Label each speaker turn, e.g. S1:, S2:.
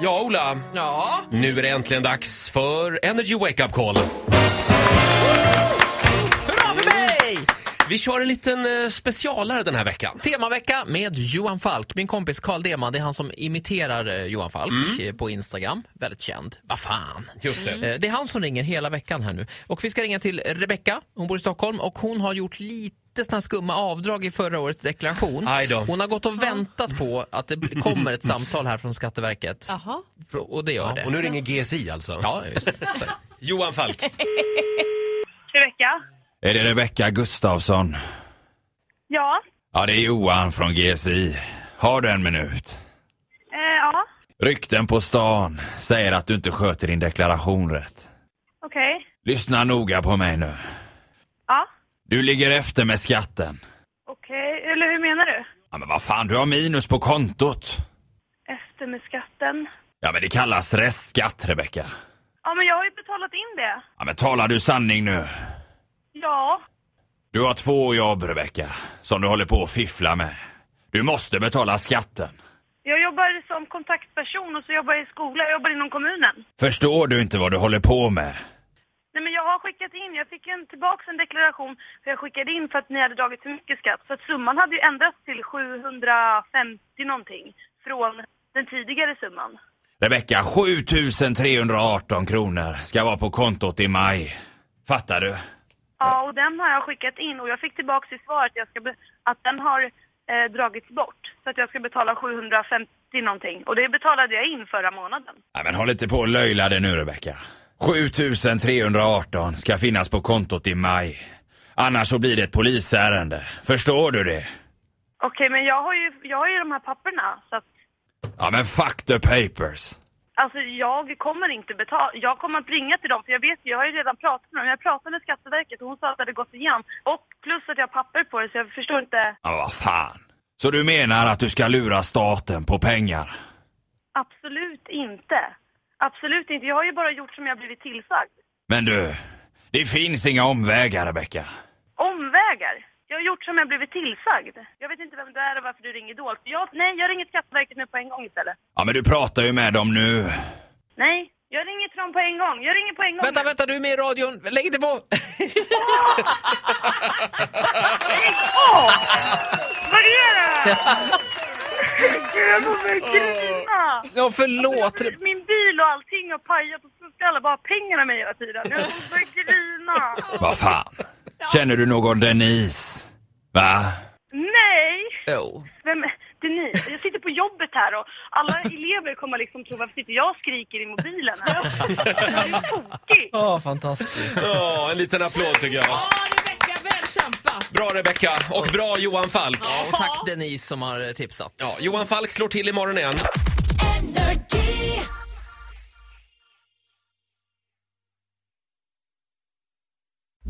S1: Ja, Ola.
S2: Ja.
S1: Nu är det äntligen dags för Energy Wake Up Call.
S2: Hurra för mig!
S1: Vi kör en liten eh, specialare den här veckan.
S2: Temavecka med Johan Falk. Min kompis Carl Deman, det är han som imiterar eh, Johan Falk
S1: Mm.
S2: eh, på Instagram. Väldigt känd. Vad fan.
S1: Just det.
S2: Eh, Det är han som ringer hela veckan här nu. Och vi ska ringa till Rebecka, hon bor i Stockholm och hon har gjort lite såna här skumma avdrag i förra årets deklaration.
S1: Aj då.
S2: Hon har gått och väntat på att det bl- kommer ett samtal här från Skatteverket.
S3: Jaha.
S2: Och det gör
S1: Ja,
S2: det.
S1: och nu ringer GSI alltså.
S2: Ja, just det. Så.
S1: Johan Falk.
S4: Rebecka?
S5: Är det Rebecka Gustafsson?
S4: Ja.
S5: Ja, det är Johan från GSI. Har du en minut?
S4: Eh, ja.
S5: Rykten på stan säger att du inte sköter din deklaration rätt.
S4: Okej.
S5: Lyssna noga på mig nu.
S4: Ja.
S5: Du ligger efter med skatten.
S4: Okej. eh, Eller hur menar du?
S5: Ja, men vad fan, du har minus på kontot.
S4: Efter med skatten.
S5: Ja, men det kallas restskatt, Rebecka.
S4: Ja, men jag har ju betalat in det.
S5: Ja, men talar du sanning nu?
S4: Ja.
S5: Du har två jobb, Rebecka, som du håller på att fiffla med. Du måste betala skatten.
S4: Jag jobbar som kontaktperson och så jobbar jag i skola. Jag jobbar inom kommunen.
S5: Förstår du inte vad du håller på med?
S4: Nej, men jag har skickat in. Jag fick en, tillbaka en deklaration för jag skickade in för att ni hade dragit för mycket skatt. Så att summan hade ju ändrats till 750 någonting från den tidigare summan.
S5: Rebecka, 7318 kronor ska vara på kontot i maj. Fattar du?
S4: Ja, och den har jag skickat in och jag fick tillbaka i svaret jag ska be- att den har eh, dragits bort. Så att jag ska betala 750 någonting. Och det betalade jag in förra månaden.
S5: Nej, men håll inte på och löjla dig nu, Rebecka. 7318 ska finnas på kontot i maj. Annars så blir det ett polisärende. Förstår du det?
S4: Okej, men jag har, ju, jag har ju de här papperna. Så att,
S5: Ja, men fuck the papers.
S4: alltså jag kommer inte betala. Jag kommer att ringa till dem för jag vet ju, jag har ju redan pratat med dem. Jag pratade med Skatteverket och hon sa att det hade gått igen. Och plus att jag har papper på det så jag förstår inte.
S5: Ja, vad fan. Så du menar att du ska lura staten på pengar?
S4: Absolut inte. Absolut inte. Jag har ju bara gjort som jag blivit tillsagd.
S5: Men du, det finns inga omvägar, Rebecka.
S4: Omvägar? Jag har gjort som jag blivit tillsagd. Jag vet inte vem du är och varför du ringer då. Jag, nej, jag ringer Skatteverket nu på en gång istället.
S5: Ja, men du pratar ju med dem nu.
S4: Nej, jag ringer till dem på en gång. Jag ringer på en gång.
S2: Vänta, vänta, du är med i radion. Lägg inte på!
S4: Åh! Vad är det? Gud, jag kommer grina!
S2: Ja,
S4: Jag
S2: förlåt.
S4: har blivit min bil och allting och pajat och så ska alla bara ha pengarna med hela tiden. Jag kommer grina.
S5: Vad fan. Känner du någon Denise? Va?
S4: Nej!
S2: Jo.
S4: Vem, det är ni. Jag sitter på jobbet här och alla elever kommer liksom tro varför sitter jag och skriker i mobilen här? Jag är tokig!
S2: Ja, fantastiskt.
S1: Ja, en liten applåd tycker jag.
S3: Ja, Rebecka, väl kämpat!
S1: Bra Rebecka och bra Johan Falk.
S2: Och tack Denise som har eh, tipsat.
S1: Ja, Johan Falk slår till imorgon igen.